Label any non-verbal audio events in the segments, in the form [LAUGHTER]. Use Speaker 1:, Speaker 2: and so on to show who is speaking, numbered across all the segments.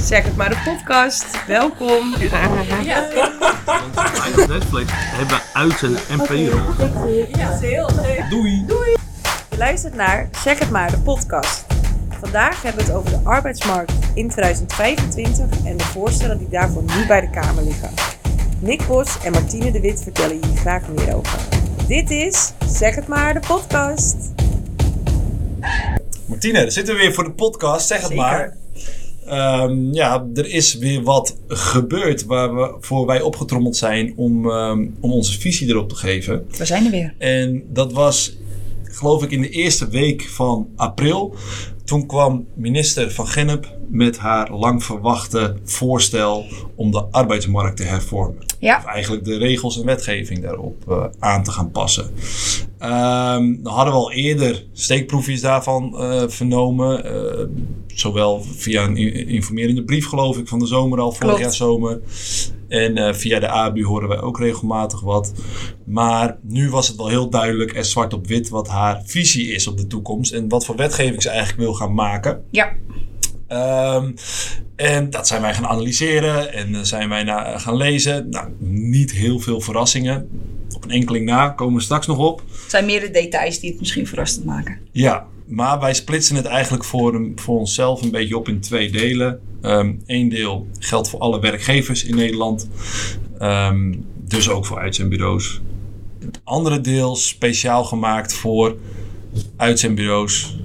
Speaker 1: Zeg het maar de podcast. Welkom.
Speaker 2: Op Netflix hebben we uit en NPO. Doei!
Speaker 1: Je luistert naar Zeg het maar de podcast. Vandaag hebben we het over de arbeidsmarkt in 2025 en de voorstellen die daarvoor nu bij de Kamer liggen. Nick Bos en Martine de Wit vertellen hier graag meer over. Dit is Zeg het maar de podcast.
Speaker 3: Martine, daar zitten we weer voor de podcast, zeg het maar. Ehm, ja, er is weer wat gebeurd waarvoor wij opgetrommeld zijn om, ehm, om onze visie erop te geven.
Speaker 4: We zijn er weer.
Speaker 3: En dat was, geloof ik, in de eerste week van april. Toen kwam minister Van Gennep met haar lang verwachte voorstel om de arbeidsmarkt te hervormen. Of
Speaker 4: Ja,
Speaker 3: eigenlijk de regels en wetgeving daarop eh, aan te gaan passen. Ehm, dan hadden we al eerder steekproefjes daarvan eh, vernomen. eh, zowel via een i- informerende brief, geloof ik, van de zomer al, vorig
Speaker 4: Klopt.
Speaker 3: jaar zomer. En eh, via de ABU horen wij ook regelmatig wat. Maar nu was het wel heel duidelijk en zwart op wit wat haar visie is op de toekomst. En wat voor wetgeving ze eigenlijk wil gaan maken.
Speaker 4: ja.
Speaker 3: Ehm, en dat zijn wij gaan analyseren en eh, zijn wij na, gaan lezen. Nou, niet heel veel verrassingen. Op een enkeling na komen we straks nog op.
Speaker 4: Het zijn meer de details die het misschien verrassend maken.
Speaker 3: Ja, maar wij splitsen het eigenlijk voor, een- voor onszelf een beetje op in twee delen. Eén deel geldt voor alle werkgevers in Nederland. Ehm, dus ook voor uitzendbureaus. Het andere deel speciaal gemaakt voor uitzendbureaus.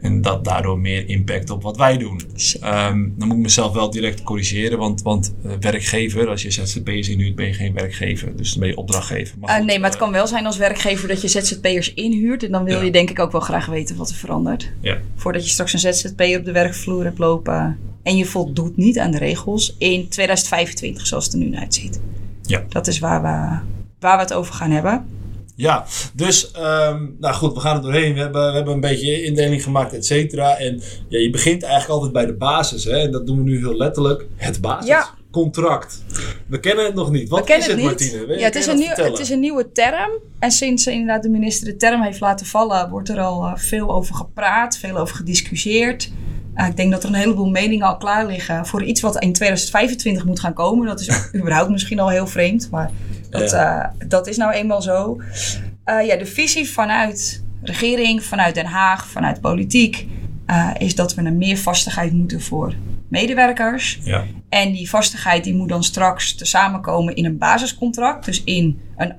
Speaker 3: En dat daardoor meer impact op wat wij doen. Ehm, dan moet ik mezelf wel direct corrigeren. Want, want eh, werkgever, als je ZZP'ers inhuurt, ben je geen werkgever. Dus dan ben je opdrachtgever.
Speaker 4: Eh,
Speaker 3: goed,
Speaker 4: nee, maar het
Speaker 3: eh,
Speaker 4: kan wel zijn als werkgever dat je ZZP'ers inhuurt. En dan wil
Speaker 3: Ja.
Speaker 4: je denk ik ook wel graag weten wat er verandert.
Speaker 3: Ja.
Speaker 4: Voordat je straks een ZZP'er op de werkvloer hebt lopen. En je voldoet niet aan de regels in 2025 zoals het er nu uitziet.
Speaker 3: Ja.
Speaker 4: Dat is waar we, waar we het over gaan hebben.
Speaker 3: Ja, dus ehm, nou goed, we gaan er doorheen. We hebben, we hebben een beetje indeling gemaakt, et cetera. En ja, je begint eigenlijk altijd bij de basis. Hè? En dat doen we nu heel letterlijk. Het
Speaker 4: Ja.
Speaker 3: basiscontract. We kennen het nog niet. Wat
Speaker 4: we kennen
Speaker 3: is het,
Speaker 4: het niet.
Speaker 3: Martine? Wil je-
Speaker 4: ja, het,
Speaker 3: kun
Speaker 4: is
Speaker 3: je
Speaker 4: een
Speaker 3: dat
Speaker 4: nieuw, het
Speaker 3: vertellen?
Speaker 4: is een nieuwe term. En sinds eh, inderdaad de minister de term heeft laten vallen, wordt er al eh, veel over gepraat, veel over gediscussieerd. Eh, ik denk dat er een heleboel meningen al klaar liggen voor iets wat in 2025 moet gaan komen.
Speaker 3: [LAUGHS]
Speaker 4: Dat is überhaupt misschien al heel vreemd, maar dat, eh, dat is nou eenmaal zo. Eh, ja, de visie vanuit regering, vanuit Den Haag, vanuit politiek eh, is dat we naar meer vastigheid moeten voor medewerkers.
Speaker 3: Ja.
Speaker 4: En die vastigheid die moet dan straks te samenkomen in een basiscontract. Dus in een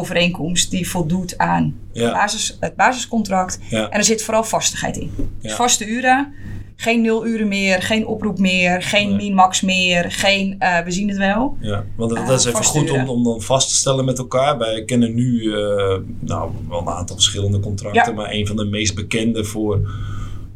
Speaker 4: arbeidsovereenkomst die voldoet aan
Speaker 3: Ja.
Speaker 4: basis, het basiscontract.
Speaker 3: Ja.
Speaker 4: En er zit vooral vastigheid in. Dus
Speaker 3: Ja.
Speaker 4: vaste uren. Geen nul uren meer, geen oproep meer, geen
Speaker 3: Nee.
Speaker 4: min-max meer, geen eh, we zien het wel.
Speaker 3: Ja, want dat,
Speaker 4: Eh,
Speaker 3: dat is even
Speaker 4: vaststuren.
Speaker 3: goed om, om dan vast te stellen met elkaar. Wij kennen nu eh, nou, wel een aantal verschillende contracten,
Speaker 4: Ja.
Speaker 3: maar een van de meest bekende voor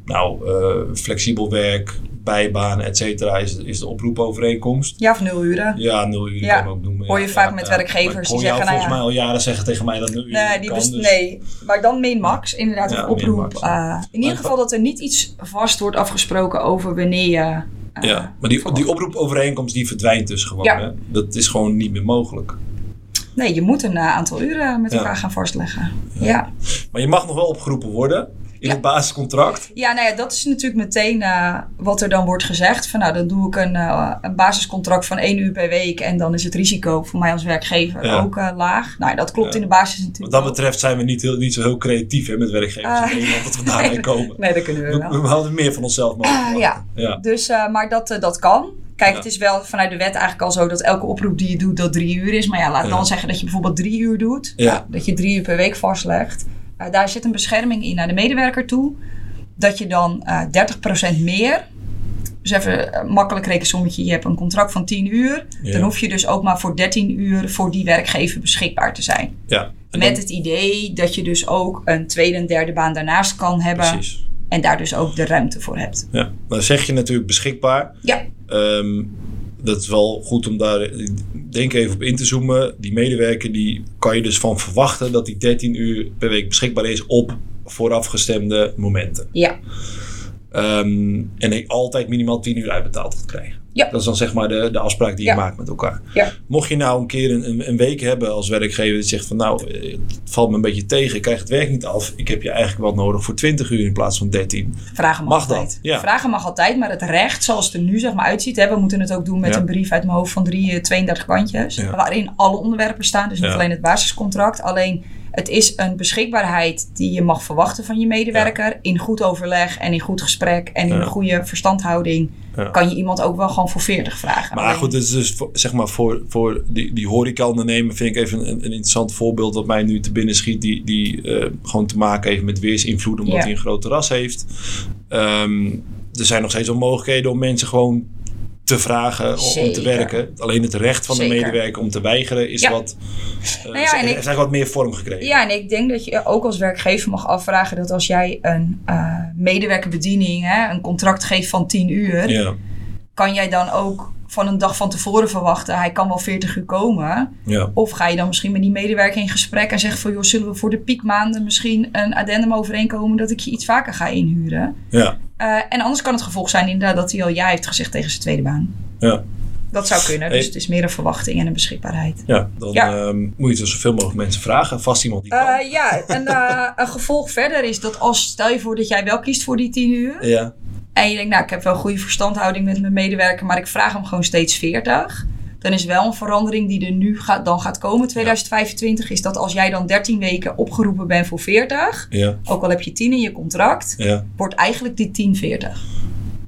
Speaker 3: nou, eh, flexibel werk, bijbaan, et cetera, is, is de oproepovereenkomst.
Speaker 4: Ja, of nul uren.
Speaker 3: Ja, nul uur
Speaker 4: Ja.
Speaker 3: kan ook noemen.
Speaker 4: Hoor je
Speaker 3: ja,
Speaker 4: vaak
Speaker 3: ja,
Speaker 4: met
Speaker 3: ja.
Speaker 4: werkgevers
Speaker 3: Maar ik
Speaker 4: die
Speaker 3: hoor jou
Speaker 4: zeggen, nou
Speaker 3: volgens
Speaker 4: ja.
Speaker 3: mij al jaren zeggen tegen mij dat nul uur
Speaker 4: Nee,
Speaker 3: niet
Speaker 4: die
Speaker 3: kan,
Speaker 4: best,
Speaker 3: dus-
Speaker 4: nee, maar dan min-max. Inderdaad,
Speaker 3: Ja,
Speaker 4: een oproep.
Speaker 3: min-max,
Speaker 4: eh,
Speaker 3: ja.
Speaker 4: in ieder geval dat er niet iets vast wordt afgesproken over wanneer je... eh,
Speaker 3: Ja, maar die, die oproepovereenkomst die verdwijnt dus gewoon.
Speaker 4: Ja.
Speaker 3: Hè? Dat is gewoon niet meer mogelijk.
Speaker 4: Nee, je moet een eh, aantal uren met
Speaker 3: Ja.
Speaker 4: elkaar gaan vastleggen. Ja.
Speaker 3: Maar je mag nog wel opgeroepen worden in
Speaker 4: Ja.
Speaker 3: het basiscontract.
Speaker 4: Ja, nou ja, dat is natuurlijk meteen eh, wat er dan wordt gezegd. Van nou, dan doe ik een, eh, een basiscontract van één uur per week. En dan is het risico voor mij als werkgever
Speaker 3: Ja.
Speaker 4: ook eh, laag. Nou, ja, dat klopt
Speaker 3: Ja.
Speaker 4: in de basis
Speaker 3: Wat
Speaker 4: natuurlijk.
Speaker 3: dat
Speaker 4: ook.
Speaker 3: betreft zijn we niet, heel, niet zo heel creatief hè, met werkgevers
Speaker 4: Ah.
Speaker 3: in Nederland dat we daarmee komen.
Speaker 4: [LAUGHS] Nee, dat kunnen we
Speaker 3: We,
Speaker 4: wel.
Speaker 3: we houden meer van onszelf mogelijk.
Speaker 4: Ah, ja.
Speaker 3: ja.
Speaker 4: Dus, eh, maar dat, eh, dat kan. Kijk,
Speaker 3: Ja.
Speaker 4: het is wel vanuit de wet eigenlijk al zo dat elke oproep die je doet, dat drie uur is. Maar ja, laat
Speaker 3: Ja.
Speaker 4: dan zeggen dat je bijvoorbeeld drie uur doet.
Speaker 3: Ja.
Speaker 4: Dat je drie uur per week vastlegt. Eh, daar zit een bescherming in naar de medewerker toe. Dat je dan eh 30% meer. Dus even een makkelijk rekensommetje. Je hebt een contract van 10 uur.
Speaker 3: Ja.
Speaker 4: Dan hoef je dus ook maar voor 13 uur voor die werkgever beschikbaar te zijn.
Speaker 3: ja. En
Speaker 4: Met
Speaker 3: dan-
Speaker 4: het idee dat je dus ook een tweede en derde baan daarnaast kan hebben.
Speaker 3: Precies.
Speaker 4: En daar dus ook de ruimte voor hebt.
Speaker 3: Ja. Maar dan zeg je natuurlijk beschikbaar.
Speaker 4: Ja,
Speaker 3: Ehm, dat is wel goed om daar, eh, denk even op in te zoomen. Die medewerker, die kan je dus van verwachten dat die 13 uur per week beschikbaar is op voorafgestemde momenten.
Speaker 4: ja.
Speaker 3: Ehm, en hij altijd minimaal 10 uur uitbetaald gaat krijgen.
Speaker 4: Ja.
Speaker 3: Dat is dan zeg maar de, de afspraak die je
Speaker 4: Ja.
Speaker 3: maakt met elkaar.
Speaker 4: Ja.
Speaker 3: Mocht je nou een keer een, een, een week hebben als werkgever die zegt van nou, eh, het valt me een beetje tegen, ik krijg het werk niet af. Ik heb je eigenlijk wel nodig voor 20 uur in plaats van 13.
Speaker 4: Vragen mag,
Speaker 3: Mag dat,
Speaker 4: altijd.
Speaker 3: ja.
Speaker 4: Vragen mag altijd, maar het recht zoals het er nu zeg maar uitziet. Hè, we moeten het ook doen met
Speaker 3: Ja.
Speaker 4: een brief uit mijn hoofd van drie, eh, 32 kantjes.
Speaker 3: Ja.
Speaker 4: Waarin alle onderwerpen staan, dus niet
Speaker 3: Ja.
Speaker 4: alleen het basiscontract. Alleen het is een beschikbaarheid die je mag verwachten van je medewerker. In goed overleg en in goed gesprek en in
Speaker 3: Ja.
Speaker 4: een goede verstandhouding.
Speaker 3: Ja.
Speaker 4: Kan je iemand ook wel gewoon voor 40 vragen.
Speaker 3: Maar
Speaker 4: Alleen-
Speaker 3: goed, het is dus voor, zeg maar voor, voor die, die horeca-ondernemer vind ik even een, een interessant voorbeeld wat mij nu te binnen schiet. Die, die eh, gewoon te maken heeft met weersinvloed omdat
Speaker 4: Ja.
Speaker 3: hij een groot terras heeft. Ehm, er zijn nog steeds wel mogelijkheden om mensen gewoon te vragen om- om te
Speaker 4: Zeker.
Speaker 3: werken. Alleen het recht van de
Speaker 4: Zeker.
Speaker 3: medewerker om te weigeren is
Speaker 4: Ja.
Speaker 3: wat... eh,
Speaker 4: Nou ja, en
Speaker 3: heeft
Speaker 4: ik-
Speaker 3: eigenlijk wat meer vorm gekregen.
Speaker 4: Ja, en ik denk dat je ook als werkgever mag afvragen dat als jij een eh medewerkerbediening, hè, een contract geeft van 10 uur,
Speaker 3: Ja,
Speaker 4: kan jij dan ook van een dag van tevoren verwachten, hij kan wel 40 uur komen?
Speaker 3: ja.
Speaker 4: Of ga je dan misschien met die medewerker in gesprek en zeggen van, joh, zullen we voor de piekmaanden misschien een addendum overeenkomen dat ik je iets vaker ga inhuren?
Speaker 3: ja.
Speaker 4: Eh, en anders kan het gevolg zijn inderdaad dat hij al ja heeft gezegd tegen zijn tweede baan.
Speaker 3: Ja.
Speaker 4: Dat zou kunnen,
Speaker 3: Hey.
Speaker 4: dus het is meer een verwachting en een beschikbaarheid.
Speaker 3: Ja, dan
Speaker 4: Ja.
Speaker 3: ehm, moet je het dus zoveel mogelijk mensen vragen. Vast iemand die kan.
Speaker 4: Eh, ja, en eh, een gevolg verder is dat als stel je voor dat jij wel kiest voor die 10 uur.
Speaker 3: Ja,
Speaker 4: En je denkt, nou, ik heb wel goede verstandhouding met mijn medewerker, maar ik vraag hem gewoon steeds 40. Dan is wel een verandering die er nu gaat, dan gaat komen, 2025, is dat als jij dan 13 weken opgeroepen bent voor 40,
Speaker 3: ja,
Speaker 4: ook al heb je 10 in je contract,
Speaker 3: ja.
Speaker 4: wordt eigenlijk die 10 40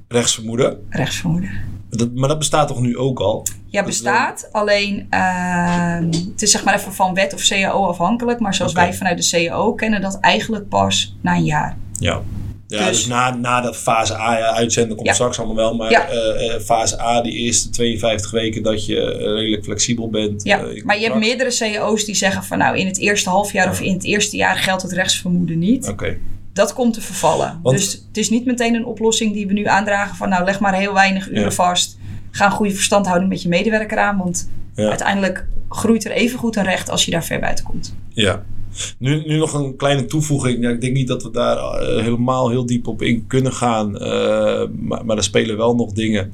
Speaker 3: Rechtsvermoeden.
Speaker 4: rechtsvermoeden.
Speaker 3: Dat, maar dat bestaat toch nu ook al?
Speaker 4: Ja,
Speaker 3: Dat is
Speaker 4: bestaat, alleen ehm, het is zeg maar even van wet of CAO afhankelijk, maar zoals
Speaker 3: Oké.
Speaker 4: wij vanuit de CAO kennen dat eigenlijk pas na een jaar.
Speaker 3: Ja. Ja, dus,
Speaker 4: Dus-
Speaker 3: na, na dat fase A ja, uitzenden komt
Speaker 4: Ja.
Speaker 3: straks allemaal wel. Maar
Speaker 4: Ja.
Speaker 3: eh, eh, fase A, die eerste 52 weken dat je eh, redelijk flexibel bent.
Speaker 4: Ja,
Speaker 3: eh, in
Speaker 4: maar je hebt
Speaker 3: contract.
Speaker 4: meerdere CAO's die zeggen van nou in het eerste halfjaar of in het eerste jaar geldt het rechtsvermoeden niet.
Speaker 3: Oké.
Speaker 4: dat komt te vervallen.
Speaker 3: Want-
Speaker 4: dus het is niet meteen een oplossing die we nu aandragen van nou leg maar heel weinig uren
Speaker 3: Ja.
Speaker 4: vast. Ga een goede verstandhouding met je medewerker aan, want
Speaker 3: Ja.
Speaker 4: uiteindelijk groeit er evengoed een recht als je daar ver buiten komt.
Speaker 3: Ja. Nu, nu nog een kleine toevoeging. Ja, ik denk niet dat we daar eh, helemaal heel diep op in kunnen gaan. eh, maar, maar er spelen wel nog dingen.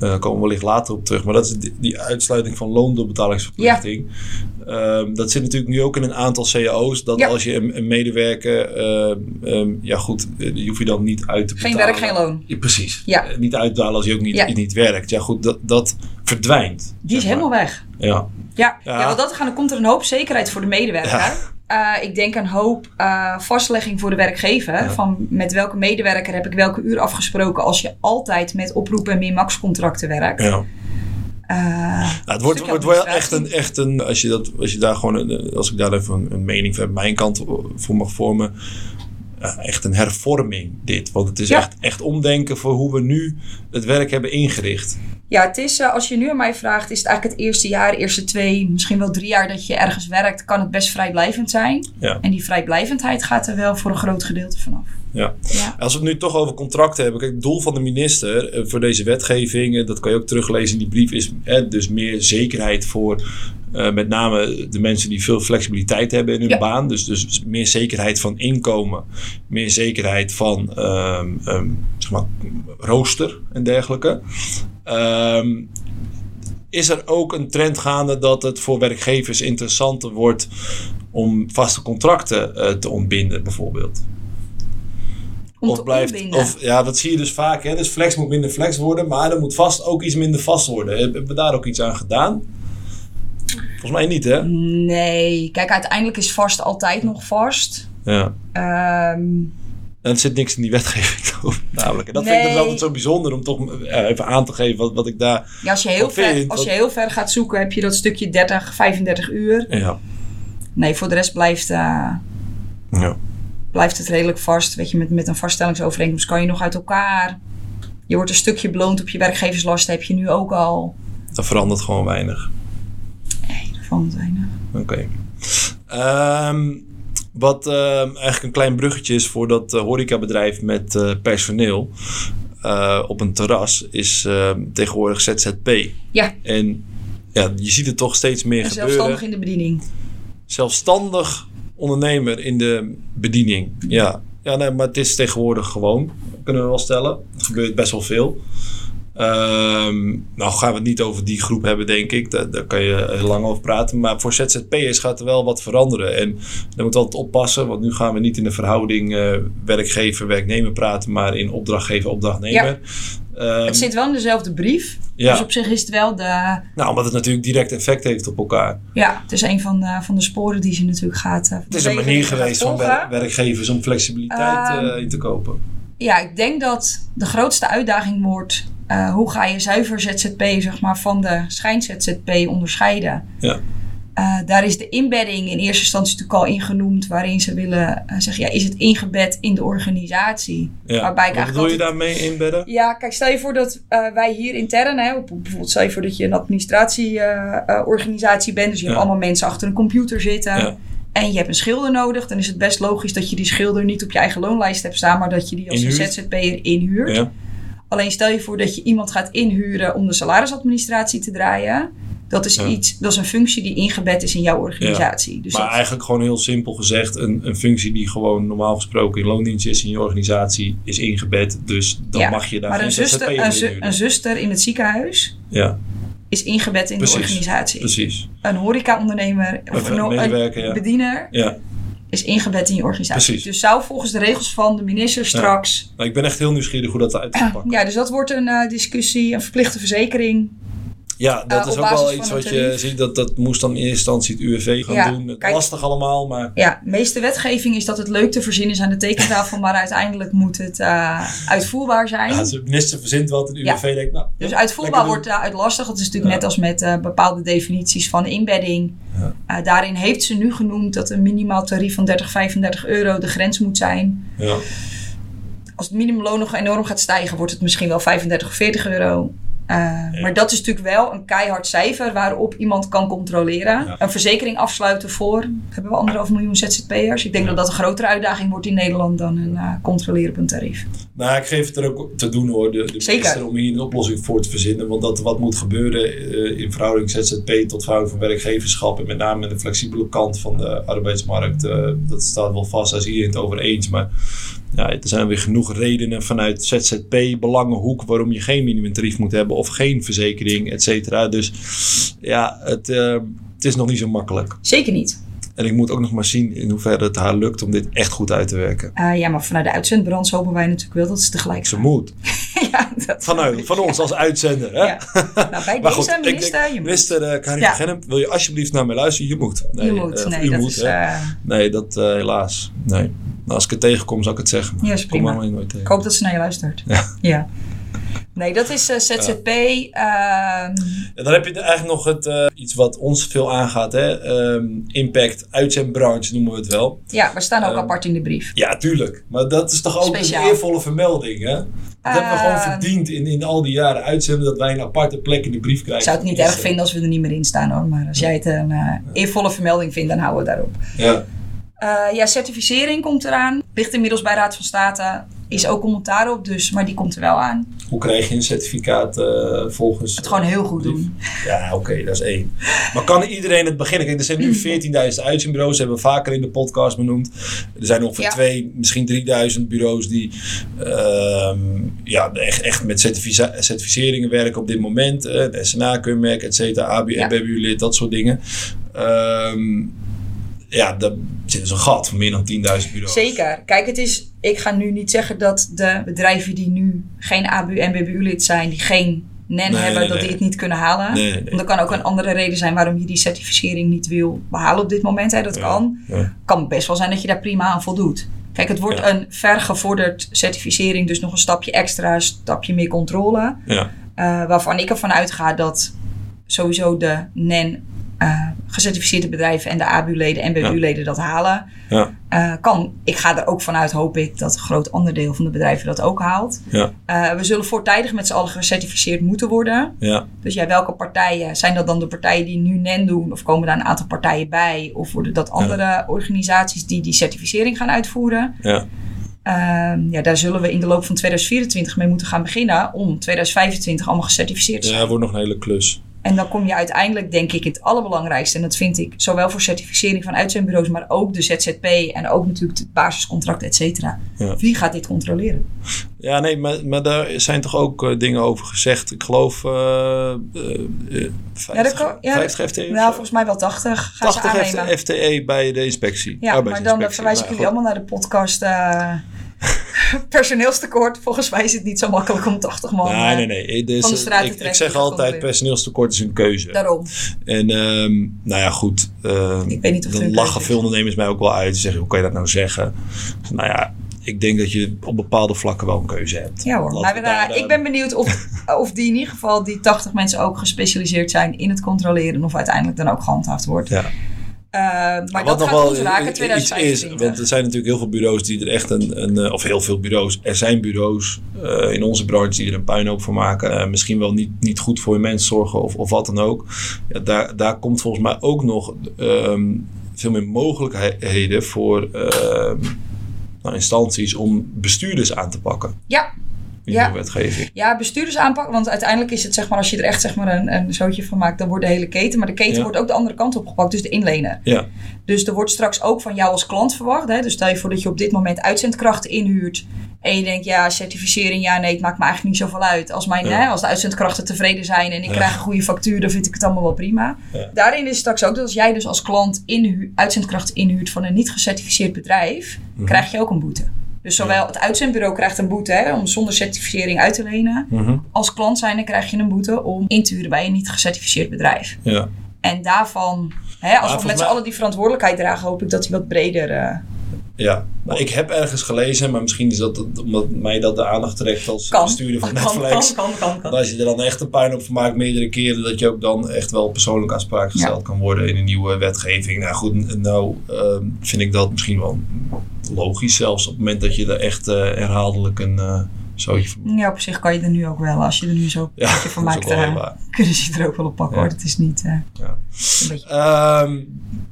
Speaker 3: Eh, Daar komen we wellicht later op terug. Maar dat is die, die uitsluiting van loondoorbetalingsverplichting. Ehm, dat zit natuurlijk nu ook in een aantal cao's. Dat
Speaker 4: Ja.
Speaker 3: als je een, een medewerker... ehm, ehm, ja goed, eh, die hoef je dan niet uit te
Speaker 4: Geen
Speaker 3: betalen.
Speaker 4: werk, geen loon.
Speaker 3: Ja, precies.
Speaker 4: Ja.
Speaker 3: Eh, niet uitbetalen als je ook niet,
Speaker 4: Ja.
Speaker 3: niet werkt. Ja goed, dat, dat verdwijnt.
Speaker 4: Die is
Speaker 3: zeg maar.
Speaker 4: helemaal weg.
Speaker 3: Ja.
Speaker 4: Ja,
Speaker 3: Ja.
Speaker 4: ja. want dat gaan, dan komt er een hoop zekerheid voor de medewerker. Eh, ik denk een hoop eh, vastlegging voor de werkgever. Van met welke medewerker heb ik welke uur afgesproken als je altijd met oproepen en min-max contracten werkt.
Speaker 3: ja.
Speaker 4: Eh,
Speaker 3: Nou, het wordt,
Speaker 4: Stuk
Speaker 3: wordt wel echt
Speaker 4: administratie.
Speaker 3: een, echt een als, je dat, als je daar gewoon, een- als ik daar even een, een mening van mijn kant eh, voor mag vormen, ja, echt een hervorming dit. Want het is
Speaker 4: Ja.
Speaker 3: echt, echt omdenken voor hoe we nu het werk hebben ingericht.
Speaker 4: Ja, het is, eh, als je nu aan mij vraagt, is het eigenlijk het eerste jaar, eerste twee, misschien wel drie jaar dat je ergens werkt, kan het best vrijblijvend zijn.
Speaker 3: Ja.
Speaker 4: En die vrijblijvendheid gaat er wel voor een groot gedeelte vanaf.
Speaker 3: Ja.
Speaker 4: Ja.
Speaker 3: Als we het nu toch over contracten hebben. Kijk, het doel van de minister eh, voor deze wetgeving, eh, dat kan je ook teruglezen in die brief, is eh, dus meer zekerheid voor eh, met name de mensen die veel flexibiliteit hebben in hun
Speaker 4: Ja.
Speaker 3: baan. Dus, dus meer zekerheid van inkomen, meer zekerheid van ehm, ehm, zeg maar, rooster en dergelijke. Ehm, is er ook een trend gaande dat het voor werkgevers interessanter wordt om vaste contracten eh, te ontbinden, bijvoorbeeld?
Speaker 4: Om
Speaker 3: of
Speaker 4: te
Speaker 3: blijft,
Speaker 4: ontbinden.
Speaker 3: Of, ja, dat zie je dus vaak. Hè? Dus flex moet minder flex worden, maar er moet vast ook iets minder vast worden. Hebben we daar ook iets aan gedaan? Volgens mij niet, hè?
Speaker 4: Nee, kijk, uiteindelijk is vast altijd nog vast.
Speaker 3: Ja.
Speaker 4: Ehm,
Speaker 3: En er zit niks in die wetgeving [LAUGHS] over, namelijk. En dat vind ik
Speaker 4: Nee.
Speaker 3: dus altijd zo bijzonder om toch eh, even aan te geven wat, wat ik daar...
Speaker 4: ja, als, je heel
Speaker 3: Wat vind je?
Speaker 4: ver, als je heel ver gaat zoeken, heb je dat stukje 30, 35 uur.
Speaker 3: Ja.
Speaker 4: Nee, voor de rest blijft, eh,
Speaker 3: ja.
Speaker 4: blijft het redelijk vast. Weet je, met, met een vaststellingsovereenkomst kan je nog uit elkaar. Je wordt een stukje beloond op je werkgeverslasten, heb je nu ook al.
Speaker 3: Dat verandert gewoon weinig.
Speaker 4: Van zijn.
Speaker 3: Oké. Ehm, wat ehm, eigenlijk een klein bruggetje is voor dat eh, horecabedrijf met eh, personeel eh, op een terras, is ehm, tegenwoordig ZZP.
Speaker 4: Ja,
Speaker 3: En ja, je ziet het toch steeds meer
Speaker 4: en
Speaker 3: gebeuren. Ehm,
Speaker 4: zelfstandig
Speaker 3: Zelfstandig.
Speaker 4: in de bediening.
Speaker 3: ondernemer in de bediening. Ja, ja nee, maar het is tegenwoordig gewoon. Ik kunnen we wel stellen. Dat gebeurt best wel veel. Ehm, nou gaan we het niet over die groep hebben, denk ik. Daar, daar kan je heel lang over praten. Maar voor ZZP'ers gaat er wel wat veranderen. En dan moet altijd oppassen, want nu gaan we niet in de verhouding eh, werkgever-werknemer praten, maar in opdrachtgever-opdrachtnemer. Ehm,
Speaker 4: Het zit wel in dezelfde brief.
Speaker 3: Ja.
Speaker 4: Dus op zich is het wel de...
Speaker 3: Nou, omdat het natuurlijk direct effect heeft op elkaar.
Speaker 4: Ja, het is een van de, van de sporen die ze natuurlijk gaat... eh,
Speaker 3: Het is een manier geweest van wer- werkgevers om flexibiliteit
Speaker 4: Ehm,
Speaker 3: eh, in te kopen.
Speaker 4: Ja, ik denk dat de grootste uitdaging wordt... eh, hoe ga je zuiver ZZP zeg maar, van de schijn-ZZP onderscheiden?
Speaker 3: Ja.
Speaker 4: Eh, daar is de inbedding in eerste instantie natuurlijk al ingenoemd... waarin ze willen eh, zeggen, ja, is het ingebed in de organisatie?
Speaker 3: Ja.
Speaker 4: Waarbij ik
Speaker 3: Wat
Speaker 4: eigenlijk
Speaker 3: bedoel je
Speaker 4: altijd-
Speaker 3: daarmee inbedden?
Speaker 4: Ja, kijk, stel je voor dat eh, wij hier intern, hè, op- bijvoorbeeld stel je voor dat je een administratieorganisatie bent, dus je hebt
Speaker 3: Ja.
Speaker 4: allemaal mensen achter een computer zitten
Speaker 3: Ja.
Speaker 4: en je hebt een schilder nodig, dan is het best logisch dat je die schilder niet op je eigen loonlijst hebt staan, maar dat je die als een
Speaker 3: Inhuurt.
Speaker 4: ZZP'er inhuurt.
Speaker 3: Ja.
Speaker 4: Alleen stel je voor dat je iemand gaat inhuren om de salarisadministratie te draaien. Dat is,
Speaker 3: Ja.
Speaker 4: iets, dat is een functie die ingebed is in jouw organisatie. Dus
Speaker 3: maar
Speaker 4: dat-
Speaker 3: eigenlijk gewoon heel simpel gezegd, een, een functie die gewoon normaal gesproken in loondienst is in je organisatie, is ingebed. Dus dan
Speaker 4: Ja,
Speaker 3: mag je daar
Speaker 4: maar
Speaker 3: geen
Speaker 4: een zuster,
Speaker 3: ZZP'er
Speaker 4: een,
Speaker 3: in
Speaker 4: zu-
Speaker 3: huren.
Speaker 4: een zuster in het ziekenhuis
Speaker 3: Ja,
Speaker 4: is ingebed in
Speaker 3: Precies.
Speaker 4: de organisatie.
Speaker 3: precies.
Speaker 4: een horecaondernemer of
Speaker 3: Een
Speaker 4: een,
Speaker 3: medewerker,
Speaker 4: een
Speaker 3: ja.
Speaker 4: bediener
Speaker 3: Ja.
Speaker 4: is ingebed in je organisatie.
Speaker 3: Precies.
Speaker 4: Dus zou volgens de regels van de minister straks...
Speaker 3: Nou, ik ben echt heel nieuwsgierig hoe dat eruit gaat
Speaker 4: Ja,
Speaker 3: pakken.
Speaker 4: dus dat wordt een eh, discussie, een verplichte verzekering.
Speaker 3: Ja, dat
Speaker 4: Eh,
Speaker 3: is
Speaker 4: op
Speaker 3: ook
Speaker 4: basis
Speaker 3: wel
Speaker 4: van
Speaker 3: iets
Speaker 4: een
Speaker 3: wat je
Speaker 4: tarief.
Speaker 3: ziet. Dat, dat moest dan in eerste instantie het UWV gaan
Speaker 4: Ja,
Speaker 3: doen. Het
Speaker 4: kijk.
Speaker 3: lastig allemaal, maar
Speaker 4: Ja, de meeste wetgeving is dat het leuk te voorzien is aan de tekentafel, maar uiteindelijk moet het eh, uitvoerbaar zijn.
Speaker 3: ja, de minister verzint wat en het
Speaker 4: Ja.
Speaker 3: UWV denkt, nou,
Speaker 4: Dus
Speaker 3: ja,
Speaker 4: uitvoerbaar
Speaker 3: lekker
Speaker 4: wordt
Speaker 3: doen.
Speaker 4: daaruit lastig. Dat is natuurlijk
Speaker 3: Ja.
Speaker 4: net als met eh, bepaalde definities van inbedding.
Speaker 3: Ja.
Speaker 4: Eh, daarin heeft ze nu genoemd dat een minimaal tarief van 30, 35 euro de grens moet zijn.
Speaker 3: Ja.
Speaker 4: als het minimumloon nog enorm gaat stijgen, wordt het misschien wel 35 of 40 euro. Uh, Maar dat is natuurlijk wel een keihard cijfer waarop iemand kan controleren.
Speaker 3: Ja.
Speaker 4: Een verzekering afsluiten voor, hebben we anderhalf miljoen ZZP'ers. Ik denk dat dat een grotere uitdaging wordt in Nederland dan een eh, controleren op een tarief.
Speaker 3: Nou, ik geef het er ook te doen hoor, de, de
Speaker 4: Zeker.
Speaker 3: minister, om hier een oplossing voor te verzinnen. Want dat wat moet gebeuren eh, in verhouding ZZP tot verhouding van werkgeverschap. En met name de flexibele kant van de arbeidsmarkt. eh, dat staat wel vast, daar is iedereen het over eens. Maar ja, er zijn weer genoeg redenen vanuit ZZP-belangenhoek waarom je geen minimumtarief moet hebben. Of geen verzekering, et cetera. Dus ja, het, eh, het is nog niet zo makkelijk.
Speaker 4: Zeker niet.
Speaker 3: En ik moet ook nog maar zien in hoeverre het haar lukt om dit echt goed uit te werken.
Speaker 4: Eh, ja, maar vanuit de uitzendbranche hopen wij natuurlijk wel dat ze tegelijk
Speaker 3: Ze moet.
Speaker 4: [LAUGHS] ja, dat
Speaker 3: Vanuit, van ons als uitzender. Hè?
Speaker 4: Ja. Nou, bij
Speaker 3: [LAUGHS] Maar
Speaker 4: deze
Speaker 3: goed, ik
Speaker 4: minister,
Speaker 3: denk,
Speaker 4: je moet.
Speaker 3: minister eh Karin
Speaker 4: Ja.
Speaker 3: van Gennep, wil je alsjeblieft naar mij luisteren? Je moet.
Speaker 4: je moet.
Speaker 3: eh,
Speaker 4: nee,
Speaker 3: je
Speaker 4: dat
Speaker 3: moet,
Speaker 4: is...
Speaker 3: hè.
Speaker 4: eh,
Speaker 3: Nee, dat eh, helaas. Nee. Nou, als ik het tegenkom, zal ik het zeggen.
Speaker 4: Ja, is
Speaker 3: Ik
Speaker 4: prima.
Speaker 3: Kom helemaal nooit tegen.
Speaker 4: Ik hoop dat ze naar je luistert. Ja. Nee, dat is eh, ZZP. ehm,
Speaker 3: En dan heb je eigenlijk nog het, eh, iets wat ons veel aangaat. Hè? Ehm, impact, uitzendbranche noemen we het wel.
Speaker 4: Ja, we staan ook
Speaker 3: Ehm,
Speaker 4: apart in de brief.
Speaker 3: Ja, tuurlijk. Maar dat is toch ook
Speaker 4: Speciaal.
Speaker 3: een eervolle vermelding, hè? Dat hebben we
Speaker 4: Eh,
Speaker 3: gewoon verdiend in, in al die jaren uitzenden... dat wij een aparte plek in de brief
Speaker 4: Ik
Speaker 3: krijgen.
Speaker 4: zou het niet erg vinden als we er niet meer in staan hoor. Maar als jij het een eh, eervolle vermelding vindt, dan houden we daarop.
Speaker 3: Ja,
Speaker 4: Eh, ja, certificering komt eraan. Ligt inmiddels bij Raad van State. Is ook commentaar op dus, maar die komt er wel aan.
Speaker 3: hoe krijg je een certificaat eh, volgens...
Speaker 4: Het gewoon heel goed doen.
Speaker 3: Ja, oké, dat is één. Maar kan iedereen het beginnen? Kijk, er zijn
Speaker 4: Mhm.
Speaker 3: nu 14.000 uitzendbureaus, hebben we vaker in de podcast benoemd. Er zijn ongeveer
Speaker 4: Ja.
Speaker 3: twee, misschien 3.000 bureaus die ehm, ja, echt, echt met certifica- certificeringen werken op dit moment. Eh, de SNA-keurmerk, et cetera, ABU,
Speaker 4: Ja.
Speaker 3: BBU-lid, dat soort dingen. Ehm, ja, daar zit dus een gat van meer dan 10.000 bureaus.
Speaker 4: Zeker. Kijk, het is, ik ga nu niet zeggen dat de bedrijven die nu geen ABU en BBU-lid zijn, die geen NEN
Speaker 3: Nee,
Speaker 4: hebben,
Speaker 3: nee,
Speaker 4: dat
Speaker 3: nee.
Speaker 4: die het niet kunnen halen.
Speaker 3: Nee, nee, nee.
Speaker 4: Want er kan ook een andere reden zijn waarom je die certificering niet wil behalen op dit moment. Hè. Dat
Speaker 3: Ja,
Speaker 4: kan.
Speaker 3: ja.
Speaker 4: kan best wel zijn dat je daar prima aan voldoet. Kijk, het wordt
Speaker 3: Ja.
Speaker 4: een vergevorderd certificering, dus nog een stapje extra, een stapje meer controle.
Speaker 3: Ja.
Speaker 4: eh, waarvan ik ervan uitga dat sowieso de NEN eh, gecertificeerde bedrijven en de ABU-leden en
Speaker 3: Ja.
Speaker 4: BBU-leden dat halen.
Speaker 3: Ja.
Speaker 4: Eh, kan. Ik ga er ook vanuit, hoop ik, dat een groot ander deel van de bedrijven dat ook haalt.
Speaker 3: Ja.
Speaker 4: Eh, we zullen voortijdig met z'n allen gecertificeerd moeten worden.
Speaker 3: Ja.
Speaker 4: Dus ja, welke partijen? Zijn dat dan de partijen die nu NEN doen? Of komen daar een aantal partijen bij? Of worden dat andere organisaties die die certificering gaan uitvoeren?
Speaker 3: Ja.
Speaker 4: Ehm, ja, daar zullen we in de loop van 2024 mee moeten gaan beginnen om 2025 allemaal gecertificeerd te
Speaker 3: ja,
Speaker 4: zijn.
Speaker 3: het wordt nog een hele klus.
Speaker 4: En dan kom je uiteindelijk, denk ik, het allerbelangrijkste. En dat vind ik zowel voor certificering van uitzendbureaus, maar ook de ZZP en ook natuurlijk het basiscontract, et cetera.
Speaker 3: Ja.
Speaker 4: Wie gaat dit controleren?
Speaker 3: Ja, nee, maar, maar daar zijn toch ook eh, dingen over gezegd. Ik geloof eh eh, eh, 50,
Speaker 4: Ja, dat kan- ja,
Speaker 3: 50 FTE. of
Speaker 4: Nou,
Speaker 3: zo.
Speaker 4: volgens mij wel 80 gaan ze
Speaker 3: 80
Speaker 4: aannemen.
Speaker 3: FTE E bij de inspectie.
Speaker 4: Ja, maar dan eh,
Speaker 3: arbeidsinspectie.
Speaker 4: verwijs ik
Speaker 3: Nou,
Speaker 4: jullie
Speaker 3: goed.
Speaker 4: allemaal naar de
Speaker 3: [LAUGHS]
Speaker 4: podcast eh, personeelstekort. Volgens mij is het niet zo makkelijk om 80 man. eh,
Speaker 3: Nee, nee, nee. Dus,
Speaker 4: van de
Speaker 3: eh,
Speaker 4: straat te
Speaker 3: ik, ik
Speaker 4: trekken,
Speaker 3: zeg
Speaker 4: die grond
Speaker 3: altijd,
Speaker 4: in.
Speaker 3: personeelstekort is een keuze.
Speaker 4: Daarom.
Speaker 3: En ehm, nou ja, goed. ehm,
Speaker 4: Ik weet niet of het
Speaker 3: Dan
Speaker 4: een
Speaker 3: lachen
Speaker 4: keuze
Speaker 3: veel
Speaker 4: is.
Speaker 3: ondernemers mij ook wel uit. Ze zeggen, hoe kan je dat nou zeggen? Dus, nou ja, ik denk dat je op bepaalde vlakken wel een keuze hebt.
Speaker 4: Ja hoor.
Speaker 3: Laten
Speaker 4: Maar
Speaker 3: we
Speaker 4: we-
Speaker 3: daar, eh,
Speaker 4: ik ben
Speaker 3: [LAUGHS]
Speaker 4: benieuwd of, of die in ieder geval, die 80 mensen ook gespecialiseerd zijn in het controleren. Of uiteindelijk dan ook gehandhaafd wordt.
Speaker 3: Ja.
Speaker 4: Eh, maar dat gaat ons
Speaker 3: i-
Speaker 4: raken
Speaker 3: i- iets is,
Speaker 4: 2025.
Speaker 3: want er zijn natuurlijk heel veel bureaus die er echt een, een eh, of heel veel bureaus, er zijn bureaus eh, in onze branche die er een puinhoop van maken. Eh, misschien wel niet, niet goed voor je mens zorgen of, of wat dan ook. Ja, daar, daar komt volgens mij ook nog ehm, veel meer mogelijkheden voor ehm, nou, instanties om bestuurders aan te pakken
Speaker 4: Ja,
Speaker 3: in
Speaker 4: Ja.
Speaker 3: de wetgeving.
Speaker 4: Ja, bestuurdersaanpak. Want uiteindelijk is het zeg maar, als je er echt zeg maar, een, een zootje van maakt, dan wordt de hele keten. Maar de keten
Speaker 3: Ja.
Speaker 4: wordt ook de andere kant opgepakt, dus de inlener.
Speaker 3: Ja,
Speaker 4: Dus er wordt straks ook van jou als klant verwacht. Hè? Dus stel je voor dat je op dit moment uitzendkrachten inhuurt. En je denkt, ja, certificering, ja, nee, het maakt me eigenlijk niet zoveel uit. Als, mijn,
Speaker 3: Ja.
Speaker 4: hè, als de uitzendkrachten tevreden zijn en ik
Speaker 3: Ja.
Speaker 4: krijg een goede factuur, dan vind ik het allemaal wel prima.
Speaker 3: Ja.
Speaker 4: Daarin is straks ook dat als jij dus als klant inhu- uitzendkrachten inhuurt van een niet gecertificeerd bedrijf,
Speaker 3: Mhm.
Speaker 4: krijg je ook een boete. Dus zowel het uitzendbureau krijgt een boete hè, om zonder certificering uit te lenen.
Speaker 3: Mhm.
Speaker 4: Als klant zijnde krijg je een boete om in te huren bij een niet gecertificeerd bedrijf.
Speaker 3: ja.
Speaker 4: En daarvan, hè, als we
Speaker 3: volgens
Speaker 4: met z'n
Speaker 3: mij-
Speaker 4: allen die verantwoordelijkheid dragen, hoop ik dat die wat breder. eh,
Speaker 3: Ja, maar ik heb ergens gelezen, maar misschien is dat het- omdat mij dat de aandacht trekt als
Speaker 4: kan.
Speaker 3: bestuurder van
Speaker 4: kan, kan,
Speaker 3: Netflix.
Speaker 4: kan, kan, kan,
Speaker 3: Want als je er dan echt een puinhoop van maakt meerdere keren, dat je ook dan echt wel persoonlijk aanspraak gesteld kan worden in een nieuwe wetgeving. Nou goed, nou ehm, vind ik dat misschien wel logisch zelfs op het moment dat je er echt eh, herhaaldelijk een eh zootje van
Speaker 4: Ja, op zich kan je er nu ook wel, als je er nu zo
Speaker 3: Ja,
Speaker 4: een
Speaker 3: [LAUGHS]
Speaker 4: van
Speaker 3: dat is ook
Speaker 4: maakt,
Speaker 3: wel
Speaker 4: eh,
Speaker 3: heel waar.
Speaker 4: kunnen ze je er ook wel op pakken
Speaker 3: Ja.
Speaker 4: hoor. Het is niet. eh,
Speaker 3: Ja.
Speaker 4: een beetje...
Speaker 3: Ehm,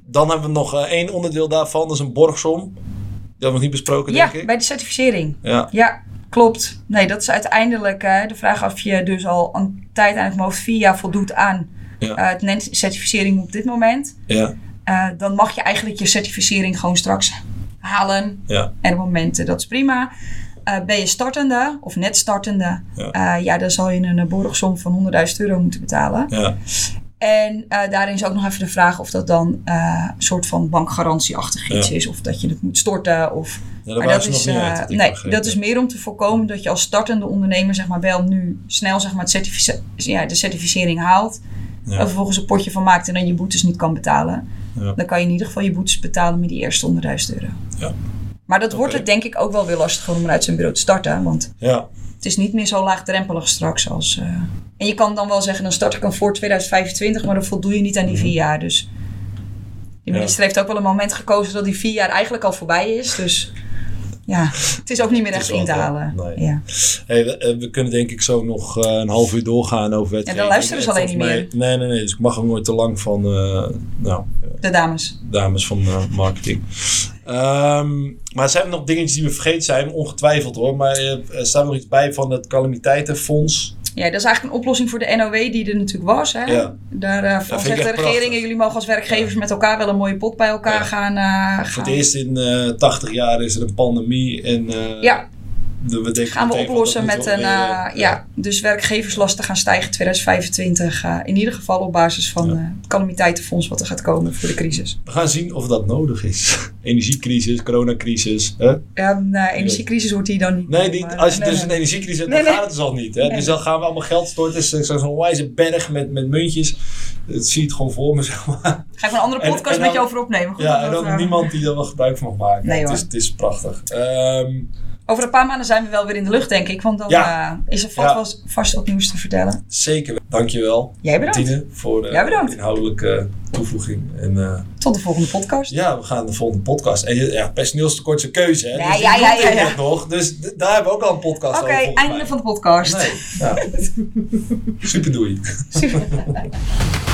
Speaker 3: dan hebben we nog eh, één onderdeel daarvan, dat is een borgsom. Die hebben we nog niet besproken,
Speaker 4: Ja,
Speaker 3: denk ik.
Speaker 4: bij de certificering.
Speaker 3: Ja,
Speaker 4: Ja, klopt. Nee, dat is uiteindelijk eh, de vraag of je dus al een tijd aan het hoofd vier jaar voldoet aan
Speaker 3: Ja.
Speaker 4: eh, het NEN certificering op dit moment.
Speaker 3: ja,
Speaker 4: Eh, dan mag je eigenlijk je certificering gewoon straks halen.
Speaker 3: ja.
Speaker 4: En op momenten, dat is prima. Eh, ben je startende of net startende,
Speaker 3: Ja.
Speaker 4: ja, ja dan zal je een eh, borgsom van 100.000 euro moeten betalen.
Speaker 3: ja.
Speaker 4: En eh, daarin is ook nog even de vraag of dat dan eh, een soort van bankgarantieachtig iets
Speaker 3: Ja.
Speaker 4: is. Of dat je het moet storten. Of,
Speaker 3: Ja, daar waren ze nog niet
Speaker 4: eh,
Speaker 3: uit, had ik
Speaker 4: nee,
Speaker 3: begrepen.
Speaker 4: dat is meer om te voorkomen dat je als startende ondernemer zeg maar, wel nu snel zeg maar, het certifice- ja, de certificering haalt.
Speaker 3: Ja.
Speaker 4: En vervolgens een potje van maakt en dan je boetes niet kan betalen.
Speaker 3: Ja.
Speaker 4: Dan kan je in ieder geval je boetes betalen met die eerste 100.000 euro.
Speaker 3: Ja.
Speaker 4: Maar dat wordt
Speaker 3: Oké.
Speaker 4: het denk ik ook wel weer lastiger om uit zijn bureau te starten. Want
Speaker 3: Ja,
Speaker 4: het is niet meer zo laagdrempelig straks als... eh, En je kan dan wel zeggen, dan start ik hem voor 2025, maar dan voldoe je niet aan die vier jaar. Dus de
Speaker 3: Mhm. Ja.
Speaker 4: minister heeft ook wel een moment gekozen dat die vier jaar eigenlijk al voorbij is. Dus ja, het is ook niet meer
Speaker 3: Het is
Speaker 4: echt in te
Speaker 3: wel-
Speaker 4: halen.
Speaker 3: nee.
Speaker 4: Ja.
Speaker 3: Hey, we, eh, we kunnen denk ik zo nog eh, een half uur doorgaan over wetgeving.
Speaker 4: Ja, dan luisteren ze
Speaker 3: En
Speaker 4: alleen
Speaker 3: volgens
Speaker 4: niet
Speaker 3: mij- Nee, nee, nee. Dus ik mag ook nooit te lang van eh, nou, eh,
Speaker 4: De dames.
Speaker 3: dames van eh, marketing. Ehm, maar zijn er nog dingetjes die we vergeten zijn? Ongetwijfeld hoor. Maar eh, er staat nog iets bij van het calamiteitenfonds.
Speaker 4: Ja, dat is eigenlijk een oplossing voor de NOW die er natuurlijk was. Hè?
Speaker 3: Ja.
Speaker 4: Daar eh, van
Speaker 3: ik
Speaker 4: zegt de
Speaker 3: echt
Speaker 4: regering,
Speaker 3: prachtig.
Speaker 4: jullie mogen als werkgevers met elkaar wel een mooie pot bij elkaar
Speaker 3: Ja.
Speaker 4: gaan. eh,
Speaker 3: Voor
Speaker 4: gaan.
Speaker 3: het eerst in eh 80 jaar is er een pandemie. En, eh,
Speaker 4: Ja,
Speaker 3: de- we denken
Speaker 4: gaan we
Speaker 3: meteen van,
Speaker 4: oplossen
Speaker 3: dat
Speaker 4: met
Speaker 3: moeten
Speaker 4: een...
Speaker 3: we
Speaker 4: eh,
Speaker 3: weer-
Speaker 4: ja. dus werkgeverslasten gaan stijgen 2025. eh, in ieder geval op basis van
Speaker 3: Ja.
Speaker 4: eh, het calamiteitenfonds wat er gaat komen voor de crisis.
Speaker 3: We gaan zien of dat nodig is. [LAUGHS] Energiecrisis, coronacrisis. Hè?
Speaker 4: Ja, de eh, energiecrisis wordt hier dan niet. Eh,
Speaker 3: Nee, die,
Speaker 4: maar-
Speaker 3: als je
Speaker 4: nee,
Speaker 3: dus
Speaker 4: nee.
Speaker 3: een energiecrisis hebt,
Speaker 4: Nee,
Speaker 3: dan
Speaker 4: nee.
Speaker 3: gaat het dus al niet. Hè?
Speaker 4: Nee.
Speaker 3: Dus dan gaan we allemaal geld storten. Het is zo'n wijze berg met, met muntjes. Dat zie je het gewoon voor me, zeg maar.
Speaker 4: Ga ik een andere
Speaker 3: En-
Speaker 4: podcast
Speaker 3: en
Speaker 4: met je
Speaker 3: dan-
Speaker 4: over opnemen. Goed,
Speaker 3: Ja,
Speaker 4: dat
Speaker 3: en
Speaker 4: wordt,
Speaker 3: dan
Speaker 4: eh,
Speaker 3: niemand die er wel gebruik van mag maken.
Speaker 4: Nee,
Speaker 3: het,
Speaker 4: hoor.
Speaker 3: is, het is prachtig. Ehm,
Speaker 4: Over een paar maanden zijn we wel weer in de lucht, denk ik. Want dan
Speaker 3: Ja.
Speaker 4: eh, is er vast,
Speaker 3: Ja.
Speaker 4: wel- vast wat nieuws te vertellen.
Speaker 3: zeker. Dankjewel,
Speaker 4: Jij bedankt.
Speaker 3: Tine, voor eh,
Speaker 4: Ja, bedankt.
Speaker 3: de inhoudelijke toevoeging. En eh,
Speaker 4: Tot de volgende podcast.
Speaker 3: ja, we gaan de volgende podcast. En je- ja, personeelstekort is een keuze. Hè?
Speaker 4: Ja,
Speaker 3: dus die
Speaker 4: ja, ja,
Speaker 3: doet ik
Speaker 4: ja, ja.
Speaker 3: ook nog. Dus d- daar hebben we ook al een podcast
Speaker 4: Oké,
Speaker 3: over. volgens
Speaker 4: einde
Speaker 3: mij.
Speaker 4: van de podcast. [LAUGHS]
Speaker 3: Nee, ja. Super doei.
Speaker 4: Super.